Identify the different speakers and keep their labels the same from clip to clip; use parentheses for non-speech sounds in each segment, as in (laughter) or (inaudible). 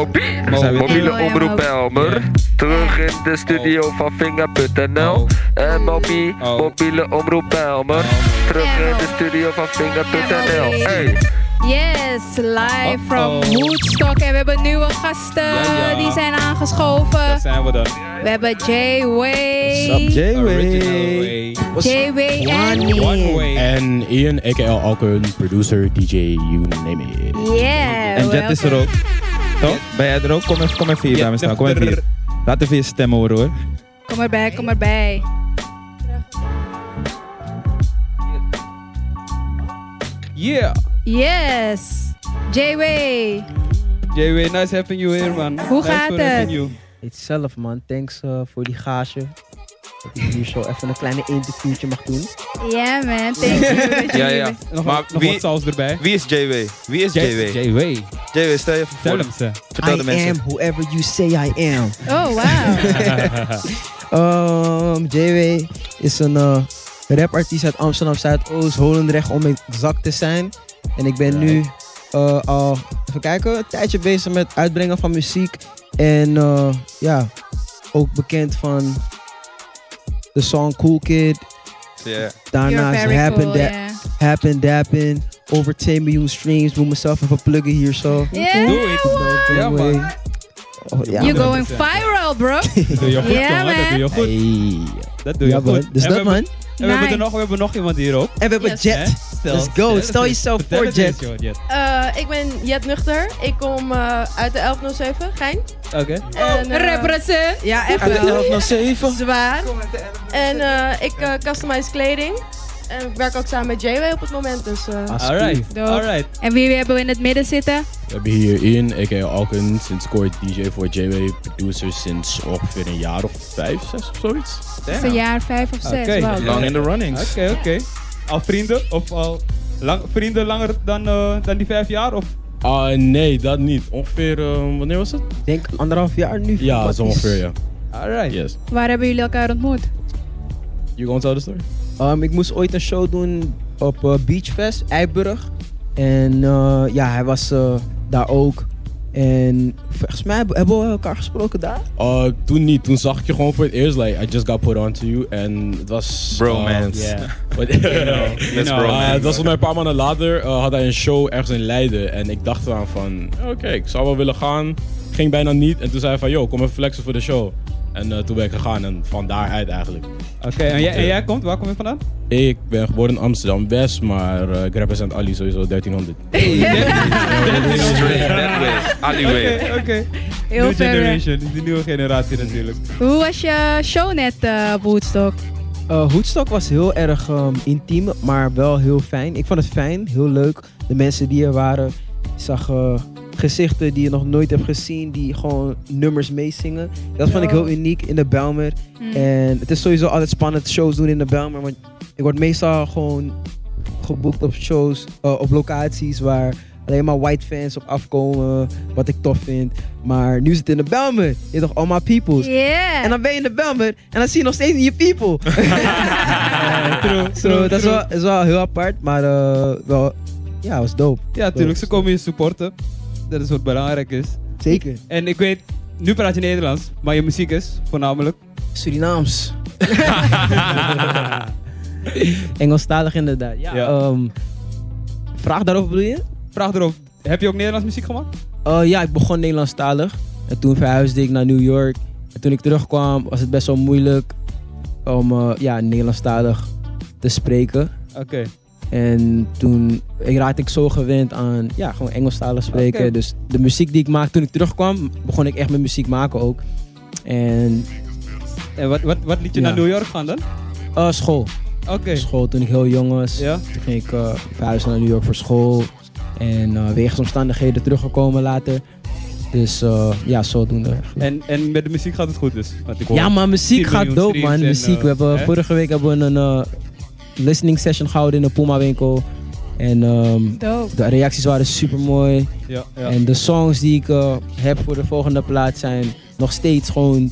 Speaker 1: Mobie- mobiele omroep Belmer. Terug in de studio van Vinger.nl. En Mobie, mobiele omroep Belmer. Terug in de studio van Vinger.nl. Hey.
Speaker 2: Yes, live from
Speaker 3: Uh-oh.
Speaker 2: Woodstock. En we hebben nieuwe gasten
Speaker 3: Ja, ja.
Speaker 2: die zijn aangeschoven.
Speaker 3: Daar zijn we dan.
Speaker 2: We hebben J-Way.
Speaker 4: What's up,
Speaker 3: Original
Speaker 4: J-Way?
Speaker 3: way.
Speaker 2: J-Way en
Speaker 3: One
Speaker 2: Ian.
Speaker 3: way.
Speaker 4: En Ian, a.k.a. Alkun, producer, DJ, you name it.
Speaker 2: Yeah.
Speaker 5: En Jet is er ook. Toch? Ben jij er ook? Kom even, kom even hier
Speaker 3: Ja,
Speaker 5: bij me staan. Kom
Speaker 3: dat-
Speaker 5: even hier. Laat even je stem horen hoor.
Speaker 2: Kom erbij, kom erbij.
Speaker 3: Yeah.
Speaker 2: Yes. J-Way.
Speaker 3: J-Way, nice having you here, man.
Speaker 2: Hoe
Speaker 3: Nice
Speaker 2: gaat
Speaker 3: for
Speaker 2: het?
Speaker 3: having you.
Speaker 6: Hetzelf man, thanks eh, voor die gage. Dat ik hier zo even een kleine interviewtje mag doen.
Speaker 2: Yeah man, thank you. dat
Speaker 5: Ja,
Speaker 2: jullie-
Speaker 5: ja.
Speaker 3: Nog,
Speaker 5: Maar
Speaker 3: wat, nog
Speaker 5: wie-
Speaker 3: wat saus erbij.
Speaker 5: Wie is JW? Wie is JW?
Speaker 3: J-Way.
Speaker 5: JW, stel je even
Speaker 3: Vertel
Speaker 5: voor.
Speaker 3: hem ze.
Speaker 5: Vertel de
Speaker 6: I am
Speaker 5: mensen.
Speaker 6: whoever you say I am.
Speaker 2: Oh wow.
Speaker 6: Um, JW is een eh, rapartiest uit Amsterdam Zuidoost, Holendrecht om exact te zijn. En ik ben nu eh, al, even kijken, een tijdje bezig met uitbrengen van muziek. En eh, ja, ook bekend van de song Cool Kid.
Speaker 5: Ja.
Speaker 2: You're
Speaker 6: Daarnaast
Speaker 2: very
Speaker 6: Happen
Speaker 2: cool,
Speaker 6: That
Speaker 2: yeah.
Speaker 6: Happen, dappen. Over 10 miljoen streams. Moet mezelf even pluggen hier zo.
Speaker 2: Yeah,
Speaker 3: Doe het.
Speaker 2: wow.
Speaker 3: Ja, man.
Speaker 6: Oh, ja.
Speaker 2: You're
Speaker 3: man.
Speaker 2: going viral bro.
Speaker 3: Doe je goed,
Speaker 2: Ja,
Speaker 3: jongen. Dat
Speaker 2: man.
Speaker 3: doe je goed.
Speaker 6: Hey.
Speaker 3: Dat doe je
Speaker 6: Ja, man.
Speaker 3: goed.
Speaker 6: Dus
Speaker 3: En
Speaker 6: dat,
Speaker 3: we hebben-
Speaker 6: man.
Speaker 3: En we hebben er
Speaker 2: Nice.
Speaker 3: nog- we hebben nog iemand hier ook.
Speaker 6: En we hebben
Speaker 7: Yes.
Speaker 3: Hè?
Speaker 6: Jet.
Speaker 3: Stel-
Speaker 6: Let's go.
Speaker 3: stel het
Speaker 6: Stel
Speaker 3: eens.
Speaker 6: jezelf
Speaker 3: Vertel
Speaker 6: voor,
Speaker 3: het eens,
Speaker 6: Jet.
Speaker 3: joh, Jet.
Speaker 7: Eh, ik ben Jet Nuchter. Ik kom eh, uit de 1107, Gein.
Speaker 3: Oké.
Speaker 7: En, eh,
Speaker 2: Represent.
Speaker 7: Ja, echt
Speaker 4: Aan de
Speaker 7: wel.
Speaker 4: 11 naar 7.
Speaker 7: Zwaar. En eh, ik eh customize kleding. En ik werk ook samen met JW op het moment. Dus eh,
Speaker 3: Ah. Alright.
Speaker 2: Dope.
Speaker 3: Alright.
Speaker 2: En wie hebben we in het midden zitten?
Speaker 4: We hebben hier Ian, a.k.a. Alkun, sinds kort DJ voor JW, producer sinds ongeveer een jaar of vijf, zes of zoiets.
Speaker 2: Het is een jaar vijf of zes.
Speaker 3: Oké.
Speaker 2: Wow.
Speaker 3: Ja.
Speaker 4: Lang in de runnings.
Speaker 3: Oké, oké. Al vrienden? Of al lang, vrienden langer dan, eh, dan die vijf jaar? Of
Speaker 4: Ah, nee, dat niet. Ongeveer, eh, wanneer was het?
Speaker 6: Ik denk anderhalf jaar nu.
Speaker 4: Ja,
Speaker 6: Wat
Speaker 4: zo
Speaker 6: is-
Speaker 4: ongeveer, ja.
Speaker 3: Alright.
Speaker 4: Yes.
Speaker 2: Waar hebben jullie elkaar ontmoet?
Speaker 4: You gonna tell the story?
Speaker 6: Um, ik moest ooit een show doen op eh, Beachfest, Eiburg. En eh, ja, hij was eh, daar ook. En volgens mij hebben hebben we elkaar gesproken daar.
Speaker 4: Eh, toen niet. Toen zag ik je gewoon voor het eerst. Like, I just got put on to you. En het was... uh,
Speaker 5: Bromance.
Speaker 3: (laughs) Yeah.
Speaker 4: (laughs) Wat- Ja.
Speaker 5: Let's
Speaker 3: know.
Speaker 4: Ah,
Speaker 5: bromance.
Speaker 4: het was voor mij een paar maanden later, eh, had hij een show ergens in Leiden. En ik dacht eraan van, oh, oké, ik zou wel willen gaan. Ging bijna niet. En toen zei hij van, yo, kom even flexen voor de show. En eh, toen ben ik gegaan en van daaruit eigenlijk.
Speaker 3: Oké, en, jij, en jij komt? Waar kom je vandaan?
Speaker 4: Ik ben geboren in Amsterdam-West, maar eh, ik represent Ali sowieso
Speaker 5: (laughs)
Speaker 4: 1300.
Speaker 5: Straight that way. Alleyway.
Speaker 3: Oké, oké.
Speaker 2: Heel
Speaker 3: New
Speaker 2: ver.
Speaker 3: generation, die nieuwe generatie natuurlijk.
Speaker 2: Hoe was je show net, eh, Woodstock?
Speaker 6: Eh Hoedstok was heel erg ehm, intiem, maar wel heel fijn. Ik vond het fijn, heel leuk. De mensen die er waren, ik zag eh, gezichten die je nog nooit hebt gezien, die gewoon nummers meezingen. Dat vond ik heel uniek in de Belmer.
Speaker 2: Hmm.
Speaker 6: En het is sowieso altijd spannend shows doen in de Belmer, want ik word meestal gewoon geboekt op shows, eh, op locaties waar alleen maar white fans op afkomen, wat ik tof vind. Maar nu zit het in de Belmer, je hebt toch all my peoples.
Speaker 2: Yeah.
Speaker 6: En dan ben je in de Belmer en dan zie je nog steeds niet je (laughs) people.
Speaker 3: True,
Speaker 6: (laughs) Zo, dat is wel, is wel heel apart, maar eh, wel, ja, was dope.
Speaker 3: Ja, natuurlijk. Ze komen je supporten. Dat is wat belangrijk is.
Speaker 6: Zeker.
Speaker 3: En ik weet, nu praat je Nederlands, maar je muziek is voornamelijk.
Speaker 6: Surinaams. (laughs) Engelstalig inderdaad. Ja,
Speaker 3: Ja.
Speaker 6: ehm, vraag daarover bedoel je?
Speaker 3: Vraag erover, heb je ook Nederlands muziek gemaakt?
Speaker 6: Eh, ja, ik begon Nederlandstalig. En toen verhuisde ik naar New York. En toen ik terugkwam was het best wel moeilijk om eh, ja, Nederlandstalig te spreken.
Speaker 3: Oké.
Speaker 6: En toen ik raakte ik zo gewend aan ja, gewoon Engelstalig spreken.
Speaker 3: Oké.
Speaker 6: Dus de muziek die ik maakte toen ik terugkwam, begon ik echt met muziek maken ook. En
Speaker 3: En wat, wat, wat liet je
Speaker 6: Ja.
Speaker 3: naar New York gaan dan?
Speaker 6: eh, school.
Speaker 3: Oké.
Speaker 6: School toen ik heel jong was.
Speaker 3: Ja?
Speaker 6: Toen ging ik eh verhuizen naar New York voor school. En eh wegens omstandigheden teruggekomen later. Dus eh, ja, zodoende.
Speaker 3: En, en met de muziek gaat het goed dus? Want ik hoor-
Speaker 6: Ja, maar
Speaker 3: 10
Speaker 6: muziek gaat
Speaker 3: miljoen
Speaker 6: dope, man.
Speaker 3: streams en,
Speaker 6: Muziek.
Speaker 3: eh,
Speaker 6: we hebben,
Speaker 3: hè?
Speaker 6: vorige week hebben we een eh, listening session gehouden in de Puma winkel. En ehm,
Speaker 2: Dope.
Speaker 6: de reacties waren super mooi.
Speaker 3: Ja, ja.
Speaker 6: En de songs die ik eh, heb voor de volgende plaat zijn nog steeds gewoon.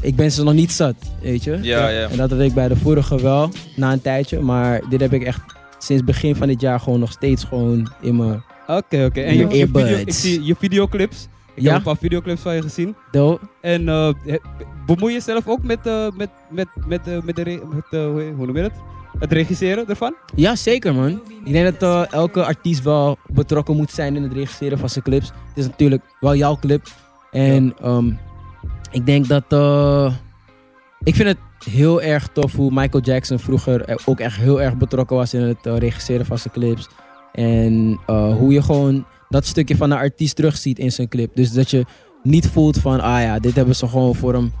Speaker 6: Ik ben ze nog niet zat, weet je?
Speaker 5: Ja, ja.
Speaker 6: En dat had ik bij de vorige wel, na een tijdje. Maar dit heb ik echt sinds begin van dit jaar gewoon nog steeds gewoon in mijn...
Speaker 3: Oké, oké. En je,
Speaker 6: Mijn
Speaker 3: je video, ik
Speaker 6: earbuds.
Speaker 3: zie je videoclips. Ik
Speaker 6: Ja.
Speaker 3: heb een paar videoclips van je gezien.
Speaker 6: Dope.
Speaker 3: En eh, he- bemoei je zelf ook met, eh, met, met, met, eh, met, de re- met eh, hoe hoe noem je dat? Het regisseren ervan?
Speaker 6: Ja, zeker man. Ik denk dat eh, elke artiest wel betrokken moet zijn in het regisseren van zijn clips. Het is natuurlijk wel jouw clip. En ehm, ik denk dat... eh, ik vind het heel erg tof hoe Michael Jackson vroeger eh, ook echt heel erg betrokken was in het eh, regisseren van zijn clips. En eh, hoe je gewoon dat stukje van de artiest terugziet in zijn clip. Dus dat je niet voelt van, ah ja, dit hebben ze gewoon voor hem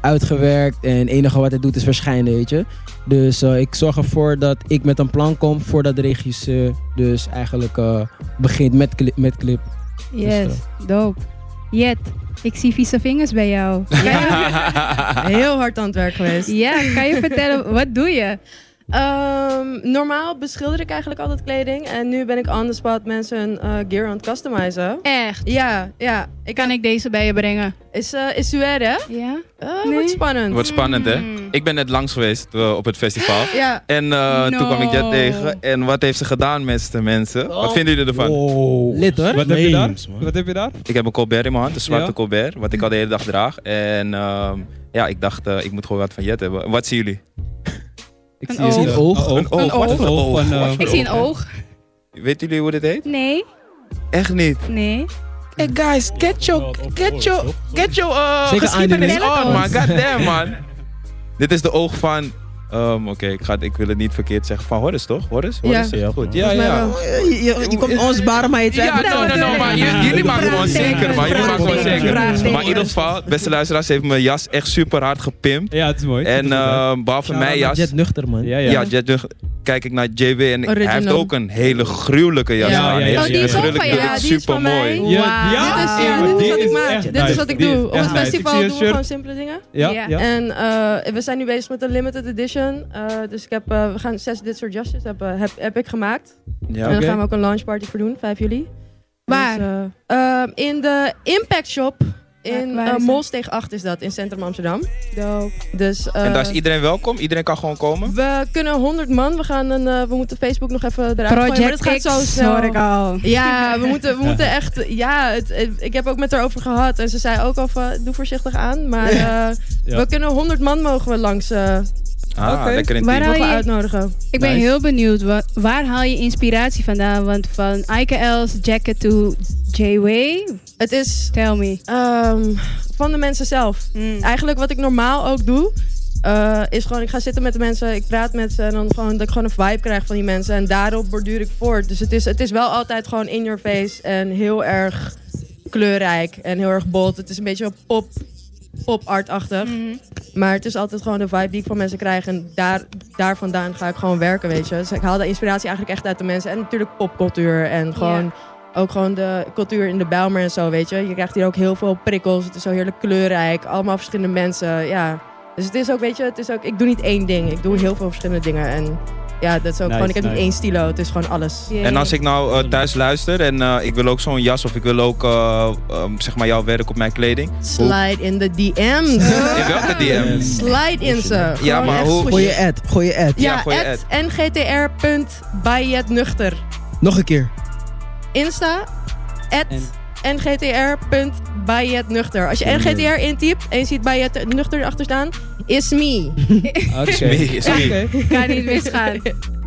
Speaker 6: uitgewerkt. En het enige wat hij doet is verschijnen, weet je. Dus eh, ik zorg ervoor dat ik met een plan kom voordat de regisseur dus eigenlijk eh, begint met, cli- met clip.
Speaker 2: Yes, dope. Jet, ik zie vieze vingers bij jou.
Speaker 7: Heel hard aan het werk geweest.
Speaker 2: Ja, kan je vertellen, wat doe je?
Speaker 7: (laughs) Ehm, normaal beschilder ik eigenlijk altijd kleding. En nu ben ik on the spot mensen hun eh, gear aan het customizen.
Speaker 2: Echt,
Speaker 7: Ja, ja. Ik
Speaker 2: kan ik deze bij je brengen?
Speaker 7: Is, eh is Suède, hè?
Speaker 2: Ja?
Speaker 7: Eh,
Speaker 2: Nee.
Speaker 7: Wordt
Speaker 8: (laughs)
Speaker 7: spannend.
Speaker 8: Wordt spannend, hè?
Speaker 3: Hmm.
Speaker 2: Mm.
Speaker 8: Ik ben net langs geweest eh, op het festival.
Speaker 7: Ja.
Speaker 8: En eh, toen kwam ik
Speaker 2: No.
Speaker 8: Jet tegen. En wat heeft ze gedaan met de mensen? Wat vinden jullie ervan?
Speaker 3: Oh. Wow.
Speaker 6: Lid hoor.
Speaker 3: Wat heb je daar?
Speaker 4: Names, man.
Speaker 3: Wat heb je daar?
Speaker 8: Ik heb een colbert in mijn hand, een zwarte
Speaker 3: Ja.
Speaker 8: colbert, wat ik al de hele dag draag. En ehm, ja, ik dacht, eh, ik moet gewoon wat van Jet hebben. Wat zien jullie?
Speaker 3: Ik
Speaker 2: Een
Speaker 3: je
Speaker 2: oog.
Speaker 3: daar. Een
Speaker 6: Een oog.
Speaker 3: oog.
Speaker 8: Een oog.
Speaker 3: Wat een oog.
Speaker 8: Een
Speaker 3: van, eh,
Speaker 8: oog.
Speaker 2: Ik zie een oog.
Speaker 8: Weten jullie hoe dit heet?
Speaker 2: Nee,
Speaker 8: Echt niet.
Speaker 2: nee.
Speaker 8: Hey guys, get your, get your, get your eh,
Speaker 6: Zeker
Speaker 8: geschiedenis
Speaker 6: anime.
Speaker 8: on, man. God damn, man. (laughs) Dit is de oog van... ehm, Oké, ik, ga het- ik wil het niet verkeerd zeggen. Van Horus, toch? Horus? Horus?
Speaker 4: Ja.
Speaker 8: Goed. Ja,
Speaker 7: mij
Speaker 8: ja.
Speaker 7: wel.
Speaker 6: Je, je, je komt ons baren, maar je
Speaker 8: Ja,
Speaker 6: twijfelt.
Speaker 8: no, no, no, maar j- jullie maken gewoon zeker, man. Jullie maken gewoon zeker. Maar in ieder geval, beste luisteraars, heeft mijn jas echt super hard gepimpt.
Speaker 3: Ja, het is mooi.
Speaker 8: En
Speaker 3: Inderdaad.
Speaker 8: ehm behalve mijn jas,
Speaker 6: Jet nuchter man.
Speaker 3: ja,
Speaker 8: ja.
Speaker 3: ja.
Speaker 8: Jet Dug, kijk ik naar JW en hij
Speaker 7: Original.
Speaker 8: heeft ook een hele gruwelijke jas
Speaker 3: Ja, ja,
Speaker 8: aan. Hij
Speaker 3: ja,
Speaker 8: heeft
Speaker 2: Oh, die
Speaker 8: een
Speaker 2: is ook van
Speaker 8: gruwelijke-
Speaker 7: Ja,
Speaker 8: dit
Speaker 7: die
Speaker 8: is
Speaker 7: is van mij.
Speaker 8: supermooi.
Speaker 3: Ja,
Speaker 2: Wauw.
Speaker 3: ja,
Speaker 7: Dit is,
Speaker 3: ja,
Speaker 7: ja,
Speaker 3: maar
Speaker 7: dit
Speaker 3: die
Speaker 7: is wat
Speaker 3: is
Speaker 7: ik maak.
Speaker 3: echt
Speaker 7: Dit
Speaker 3: nice.
Speaker 7: is wat ik
Speaker 3: Die
Speaker 7: doe.
Speaker 3: is
Speaker 7: Op
Speaker 3: echt
Speaker 7: het
Speaker 3: nice. Ik
Speaker 7: festival
Speaker 3: zie een
Speaker 7: doen we gewoon
Speaker 3: shirt.
Speaker 7: simpele dingen.
Speaker 3: Ja,
Speaker 2: Ja.
Speaker 3: ja.
Speaker 7: En eh, we zijn nu bezig met een limited edition. Eh, dus ik heb, eh, we gaan zes dit soort jasjes hebben, heb, heb ik gemaakt.
Speaker 8: Ja.
Speaker 7: En daar
Speaker 3: Oké.
Speaker 7: gaan we ook een launch party voor doen, 5 juli.
Speaker 2: Waar?
Speaker 7: Dus, eh, ehm, in de Impact Shop. In
Speaker 2: waar
Speaker 7: eh,
Speaker 2: is het?
Speaker 7: Molsteeg 8 is dat, in Centrum Amsterdam.
Speaker 2: Dope.
Speaker 7: Dus, eh,
Speaker 8: En daar is iedereen welkom, iedereen kan gewoon komen.
Speaker 7: we kunnen 100 man. We, gaan een, eh, we moeten Facebook nog even eruit gooien. Maar
Speaker 2: Project
Speaker 7: dat gaat zo
Speaker 2: X,
Speaker 7: snel.
Speaker 2: hoor ik al.
Speaker 7: Ja, we moeten, we moeten echt. Ja, het, het- ik heb ook met haar over gehad. En ze zei ook al van, doe voorzichtig aan. Maar eh,
Speaker 3: Ja.
Speaker 7: we kunnen 100 man mogen we langs eh,
Speaker 8: Ah, lekker in
Speaker 2: Waar
Speaker 8: team.
Speaker 2: haal
Speaker 7: mogen we
Speaker 2: je,
Speaker 7: uitnodigen.
Speaker 2: ik ben
Speaker 3: Nice.
Speaker 2: heel benieuwd, wa- waar haal je inspiratie vandaan? Want van Ike L's Jacket to J-Way,
Speaker 7: Het is
Speaker 2: tell me.
Speaker 7: ehm, van de mensen zelf.
Speaker 2: Hmm.
Speaker 7: Eigenlijk wat ik normaal ook doe. eh, is gewoon, ik ga zitten met de mensen, ik praat met ze en dan gewoon dat ik gewoon een vibe krijg van die mensen. En daarop borduur ik voort. Dus het is, het is wel altijd gewoon in your face en heel erg kleurrijk en heel erg bold. Het is een beetje pop, pop art-achtig.
Speaker 2: Mhm.
Speaker 7: Maar het is altijd gewoon de vibe die ik van mensen krijg. En daar, daar vandaan ga ik gewoon werken, weet je. Dus ik haal de inspiratie eigenlijk echt uit de mensen. En natuurlijk popcultuur en gewoon... Ook gewoon de cultuur in de Bijlmer en zo, weet je. Je krijgt hier ook heel veel prikkels. Het is zo heerlijk kleurrijk. Allemaal verschillende mensen, ja. Dus het is ook, weet je, het is ook... Ik doe niet één ding. Ik doe heel veel verschillende dingen. En ja, dat is ook
Speaker 3: Nice,
Speaker 7: gewoon... Ik heb
Speaker 3: nice.
Speaker 7: niet één stilo. Het is gewoon alles.
Speaker 8: En als ik nou eh, thuis luister en eh, ik wil ook zo'n jas of ik wil ook eh, ehm, zeg maar jouw werk op mijn kleding.
Speaker 7: Slide in de DM's.
Speaker 8: In welke DM?
Speaker 7: (laughs) Slide in ze. Gewoon
Speaker 8: maar
Speaker 7: echt
Speaker 8: hoe-
Speaker 7: pushen.
Speaker 6: Goeie ad, goeie ad.
Speaker 8: Ja,
Speaker 7: Ja,
Speaker 8: gooi je
Speaker 7: at ngtr.byjetnuchter.
Speaker 6: Nog een keer.
Speaker 7: Insta, at ngtr.byjetnuchter. Als je ngtr intypt en je ziet byjetnuchter erachter staan, is me. (laughs)
Speaker 6: (laughs)
Speaker 8: Is me, is me.
Speaker 2: (laughs) kan niet misgaan.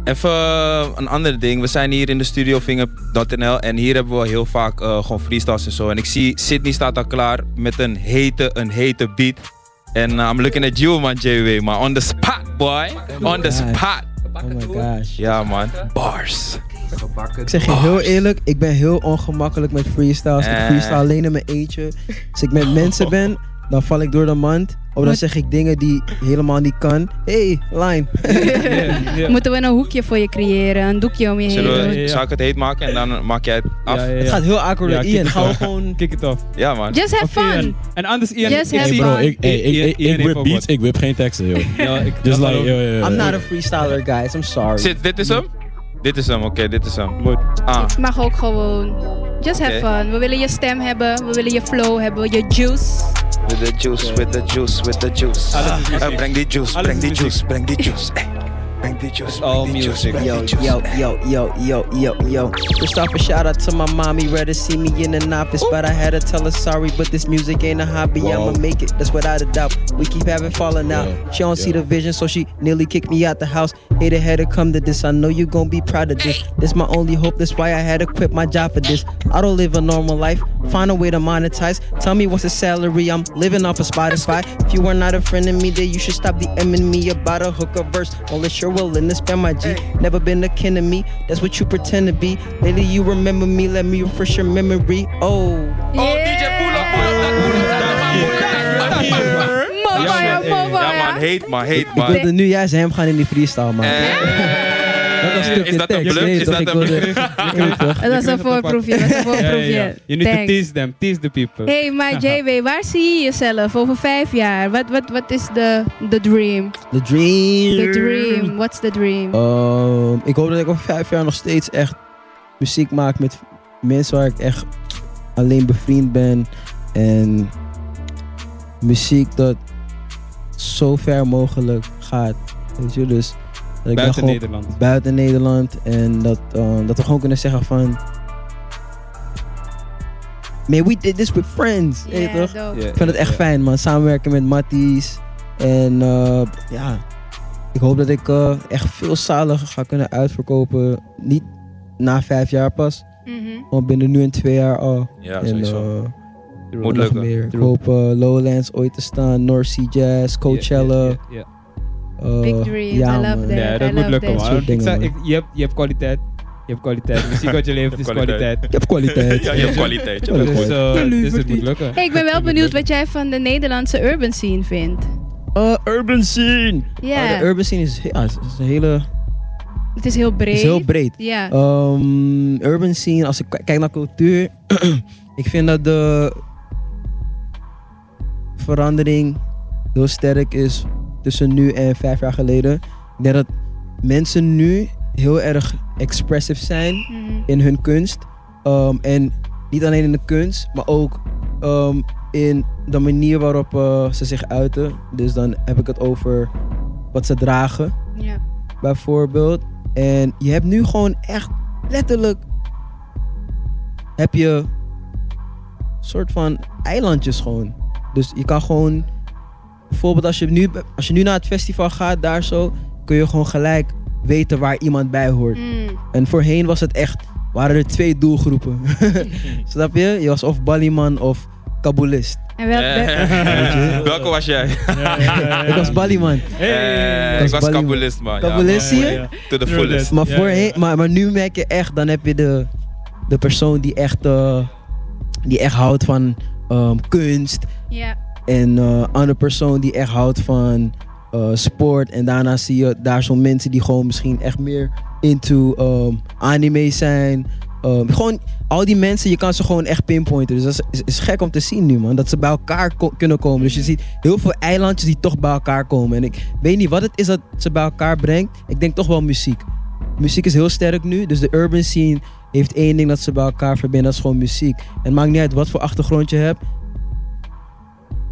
Speaker 8: Even eh, een ander ding. We zijn hier in de studio Vinger.nl en hier hebben we heel vaak eh, gewoon freestyles en zo. En ik zie Sydney staat al klaar met een hete, een hete beat. En eh, I'm looking at you man, JW man. On the spot boy. On the spot.
Speaker 6: Oh my gosh.
Speaker 8: Ja man. Bars.
Speaker 6: Ik zeg je heel eerlijk, ik ben heel ongemakkelijk met freestyles. Ik
Speaker 8: Eh.
Speaker 6: freestyle alleen in mijn eentje. Als ik met mensen ben, dan val ik door de mand. Of dan
Speaker 2: Moet-
Speaker 6: zeg ik dingen die helemaal niet kan. Hey, line.
Speaker 3: Ja, ja.
Speaker 2: Moeten we een hoekje voor je creëren, een doekje om je heen
Speaker 8: Zullen
Speaker 2: doen.
Speaker 8: we,
Speaker 3: ja, ja.
Speaker 8: Zal ik het heet maken en dan maak jij het af?
Speaker 3: Ja,
Speaker 8: Ja,
Speaker 3: ja,
Speaker 6: (laughs) Het
Speaker 3: ja.
Speaker 6: gaat heel awkward.
Speaker 3: Ja,
Speaker 6: Ian,
Speaker 3: kick
Speaker 6: hou
Speaker 3: it off.
Speaker 6: gewoon...
Speaker 3: Kick it off.
Speaker 8: man.
Speaker 2: Just have
Speaker 3: Oké,
Speaker 2: fun.
Speaker 3: Ian. En anders Ian.
Speaker 2: Yes,
Speaker 3: ik
Speaker 2: have
Speaker 4: Hey
Speaker 3: zie-
Speaker 2: fun.
Speaker 4: bro, ik, hey, ik,
Speaker 3: Ian-
Speaker 4: ik,
Speaker 3: Ian
Speaker 4: ik
Speaker 3: heeft
Speaker 4: whip
Speaker 3: ook
Speaker 4: beats,
Speaker 3: wat.
Speaker 4: ik whip geen teksten, joh.
Speaker 3: Ja, ik
Speaker 4: (laughs) Just
Speaker 3: dat
Speaker 4: like,
Speaker 3: ook.
Speaker 4: yo, yo, yo.
Speaker 6: I'm not a freestyler, guys. I'm sorry.
Speaker 8: Zit, dit is hem? Dit is hem, oké, dit is hem.
Speaker 3: Goed.
Speaker 8: Ah,
Speaker 2: Het mag ook gewoon. Just have
Speaker 8: Oké.
Speaker 2: fun. We willen je stem hebben, we willen je flow hebben, je juice.
Speaker 8: with the juice, with the juice, with the juice.
Speaker 3: Alles is
Speaker 8: Eh,
Speaker 3: muziek.
Speaker 8: breng die juice,
Speaker 3: Alles
Speaker 8: breng
Speaker 3: is
Speaker 8: die
Speaker 3: muziek.
Speaker 8: juice, breng die juice. Eh.
Speaker 3: all music.
Speaker 6: Yo, yo, yo, yo, yo, yo, yo. First off, a shout out to my mommy. Rather see me in an office, but I had to tell her sorry. But this music ain't a hobby.
Speaker 4: Wow.
Speaker 6: I'ma make it. That's without a doubt. We keep having falling out.
Speaker 4: Yeah,
Speaker 6: She don't see
Speaker 4: yeah.
Speaker 6: the vision, so she nearly kicked me out the house. Hater had to come to this. I know you gon' be proud of this. This my only hope. That's why I had to quit my job for this. I don't live a normal life. Find a way to monetize. Tell me what's the salary. I'm living off of Spotify. If you are not a friend of me, then you should stop DMing me about a hooker verse. Well, it's sure willing to spend my G. Never been a kin to me. That's what you pretend to be. Lately, you remember me. Let me refresh your memory. Oh.
Speaker 8: Oh, DJ, pull up, pull
Speaker 2: Mova, ja,
Speaker 8: Ja
Speaker 2: mova,
Speaker 8: man,
Speaker 2: ja.
Speaker 8: heet maar, heet
Speaker 6: Ik
Speaker 8: maar.
Speaker 6: wilde nu juist hem gaan in die freestyle, man. dat was
Speaker 8: Eh, is dat een
Speaker 6: tekst,
Speaker 8: bluff?
Speaker 6: nee,
Speaker 8: Is
Speaker 6: toch?
Speaker 8: dat
Speaker 6: Ik
Speaker 8: een
Speaker 6: wilde-
Speaker 8: bluff?
Speaker 6: (laughs) Ik weet toch?
Speaker 2: Dat was een voorproefje, dat was een
Speaker 3: Ja, ja, ja.
Speaker 2: voorproefje.
Speaker 3: You need to
Speaker 2: Thanks.
Speaker 3: tease them, tease the people.
Speaker 2: Hey, maar JW, waar zie je jezelf over vijf jaar? Wat, wat, wat is de, de dream?
Speaker 6: The dream.
Speaker 2: De dream, what's the dream?
Speaker 6: Ehm, ik hoop dat ik over vijf jaar nog steeds echt muziek maak met mensen waar ik echt alleen bevriend ben. En muziek dat zo ver mogelijk gaat. Weet je, dus dat ik dan
Speaker 3: Buiten
Speaker 6: gewoon
Speaker 3: Nederland.
Speaker 6: buiten Nederland. En dat, ehm, dat we gewoon kunnen zeggen van... Man, we did this with friends. weet je
Speaker 2: Ja,
Speaker 6: toch?
Speaker 2: dope.
Speaker 3: Ja,
Speaker 6: Ik vind het echt
Speaker 3: ja.
Speaker 6: fijn, man. Samenwerken met Matties. En eh, ja, ik hoop dat ik eh, echt veel zalen ga kunnen uitverkopen. Niet na vijf jaar pas,
Speaker 2: Mhm.
Speaker 6: want binnen nu en twee jaar al.
Speaker 8: Ja,
Speaker 6: en,
Speaker 8: sowieso.
Speaker 6: eh,
Speaker 8: Moet
Speaker 6: nog
Speaker 8: lukken.
Speaker 6: meer. Ik hoop eh, Lowlands ooit te staan, North Sea Jazz, Coachella.
Speaker 3: Ja, ja, ja.
Speaker 6: eh,
Speaker 2: Big dreams, I
Speaker 6: ja,
Speaker 2: love
Speaker 6: man.
Speaker 2: that.
Speaker 3: Ja, dat
Speaker 2: I
Speaker 3: moet
Speaker 2: love
Speaker 3: lukken,
Speaker 2: that.
Speaker 6: Dit
Speaker 3: man.
Speaker 6: soort
Speaker 3: Ik
Speaker 6: dingen,
Speaker 3: zou-
Speaker 6: man.
Speaker 3: ik- Je hebt- je hebt kwaliteit. Je hebt kwaliteit. Muziek wat je leeft is kwaliteit.
Speaker 6: Ik heb kwaliteit.
Speaker 8: (laughs) Ja, je hebt kwaliteit. je hebt
Speaker 3: Dus,
Speaker 8: kwaliteit.
Speaker 3: eh, dus het
Speaker 6: Liberty.
Speaker 3: moet lukken.
Speaker 2: Hey, ik ben wel benieuwd wat jij van de Nederlandse urban scene vindt.
Speaker 6: Eh, urban scene.
Speaker 2: Ja,
Speaker 6: Oh, de urban scene is, ja, is is een hele,
Speaker 2: het is heel breed.
Speaker 6: is heel breed.
Speaker 2: Ja.
Speaker 3: Oh.
Speaker 6: Ehm, urban scene, als ik k- kijk naar cultuur, (clears throat) ik vind dat de verandering heel sterk is tussen nu en vijf jaar geleden. Ik denk dat mensen nu heel erg expressief zijn
Speaker 2: Mhm.
Speaker 6: in hun kunst. Ehm, en niet alleen in de kunst, maar ook ehm, in de manier waarop eh, ze zich uiten. Dus dan heb ik het over wat ze dragen
Speaker 2: ja.
Speaker 6: bijvoorbeeld. En je hebt nu gewoon echt letterlijk. Heb je soort van eilandjes gewoon. Dus je kan gewoon. Bijvoorbeeld als je nu, als je nu naar het festival gaat, daar zo, kun je gewoon gelijk weten waar iemand bij hoort.
Speaker 2: Mm.
Speaker 6: En voorheen was het echt, waren er twee doelgroepen. (laughs) Snap je? Je was of Baliman of Kabulist.
Speaker 2: En wel, wel-
Speaker 6: (laughs)
Speaker 8: Eh, Welke was jij?
Speaker 6: Ik was Baliman.
Speaker 8: Eh, Ik
Speaker 6: Dat is
Speaker 8: was
Speaker 6: Bali, man.
Speaker 8: kabulist, man. Ja,
Speaker 6: Kabulist, zie je?
Speaker 8: man. To the fullest.
Speaker 6: Maar, voorheen, Maar, maar nu merk je echt, dan heb je de, de persoon die echt, eh, die echt houdt van ehm, kunst.
Speaker 2: ja.
Speaker 6: En eh andere persoon die echt houdt van eh, sport. En daarna zie je daar zo'n mensen die gewoon misschien echt meer into ehm, anime zijn. Ehm, gewoon al die mensen, je kan ze gewoon echt pinpointen. Dus dat is, is, is gek om te zien nu, man. Dat ze bij elkaar ko- kunnen komen. Dus je ziet heel veel eilandjes die toch bij elkaar komen. En ik weet niet wat het is dat ze bij elkaar brengt. Ik denk toch wel muziek. Muziek is heel sterk nu. Dus de urban scene heeft één ding dat ze bij elkaar verbinden. Dat is gewoon muziek. En het maakt niet uit wat voor achtergrond je hebt.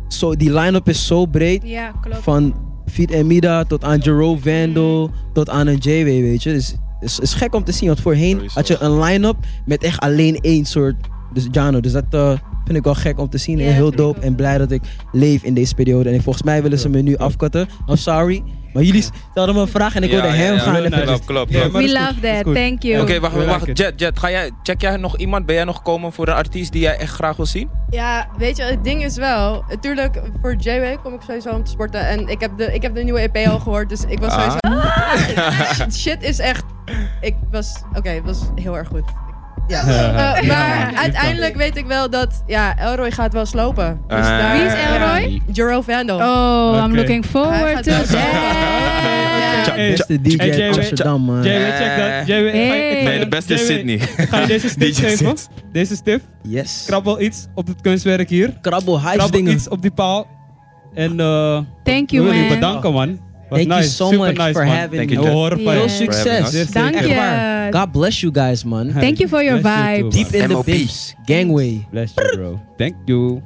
Speaker 6: Zo, die line-up is zo breed.
Speaker 2: ja, klopt.
Speaker 6: Van Feed en Mida tot aan
Speaker 2: Mm.
Speaker 6: Jerome Vandal tot aan een JW, weet je. Dus het is, is gek om te zien, want voorheen
Speaker 4: Sowieso.
Speaker 6: had je een line-up met echt alleen één soort dus genre. Dus dat eh, vind ik wel gek om te zien.
Speaker 2: Ja,
Speaker 6: en heel
Speaker 2: vind ik
Speaker 6: dope
Speaker 2: ook.
Speaker 6: en blij dat ik leef in deze periode. En volgens mij willen ze me nu afkatten. I'm sorry. Maar jullie stelden me een vraag en ik wilde hem gaan.
Speaker 3: Ja,
Speaker 6: en
Speaker 3: nou,
Speaker 6: even-
Speaker 8: Klopt, klopt.
Speaker 3: Ja,
Speaker 8: klopt.
Speaker 3: maar
Speaker 2: We
Speaker 3: dat is goed,
Speaker 2: love
Speaker 3: dat is
Speaker 2: that,
Speaker 3: goed.
Speaker 2: thank you.
Speaker 8: Oké, wacht,
Speaker 3: We
Speaker 8: wacht.
Speaker 3: like it.
Speaker 8: Jet, Jet, ga jij, check jij nog iemand? Ben jij nog komen voor een artiest die jij echt graag wil zien?
Speaker 7: Ja, weet je, het ding is wel... Natuurlijk, voor JW kom ik sowieso om te sporten. En ik heb de, ik heb de nieuwe EP al gehoord, dus ik was
Speaker 8: Ah.
Speaker 7: sowieso... (laughs) Shit is echt... Ik was... Oké, het was heel erg goed. Ja. Eh, maar uiteindelijk weet ik wel dat... Ja, Elroy gaat wel slopen. Dus
Speaker 8: Ah.
Speaker 7: daar-
Speaker 2: Wie is Elroy?
Speaker 7: Ja, Jero Vandal.
Speaker 2: Oh, I'm
Speaker 3: Oké.
Speaker 2: looking forward to
Speaker 7: Hij gaat
Speaker 2: that.
Speaker 7: wel-
Speaker 2: Yeah.
Speaker 3: Hey,
Speaker 6: Beste DJ
Speaker 3: hey,
Speaker 6: uit
Speaker 3: JW.
Speaker 6: Amsterdam, man.
Speaker 3: JW, check dat. JW, ik ga je- ik ga
Speaker 2: Hey.
Speaker 3: je-
Speaker 8: Nee, de beste is
Speaker 3: JW,
Speaker 8: Sydney.
Speaker 3: Ga je
Speaker 6: (laughs)
Speaker 3: deze stift
Speaker 8: DJ
Speaker 3: geven? Deze stift.
Speaker 6: Yes.
Speaker 3: Krabbel iets op het kunstwerk hier.
Speaker 6: Krabbel, hype
Speaker 3: Krabbel
Speaker 6: dingen.
Speaker 3: iets op die paal. En eh
Speaker 2: Thank
Speaker 3: we
Speaker 2: you,
Speaker 3: willen je
Speaker 2: man.
Speaker 3: bedanken, man. Was
Speaker 6: Thank
Speaker 3: nice.
Speaker 6: you so
Speaker 3: Super
Speaker 6: much
Speaker 3: nice,
Speaker 6: for
Speaker 3: man.
Speaker 6: having
Speaker 8: Thank
Speaker 6: me.
Speaker 8: you,
Speaker 3: We
Speaker 8: Jet.
Speaker 3: horen van
Speaker 2: Yeah.
Speaker 3: je.
Speaker 6: Veel succes.
Speaker 3: Zeker.
Speaker 2: Dank
Speaker 6: Echt waar.
Speaker 2: je.
Speaker 6: God bless you guys, man.
Speaker 2: Thank you for your
Speaker 3: Bless you too,
Speaker 2: vibes.
Speaker 3: man.
Speaker 6: Deep in the
Speaker 8: MOP.
Speaker 6: base. Gangway.
Speaker 3: Bless you, bro. Thank you.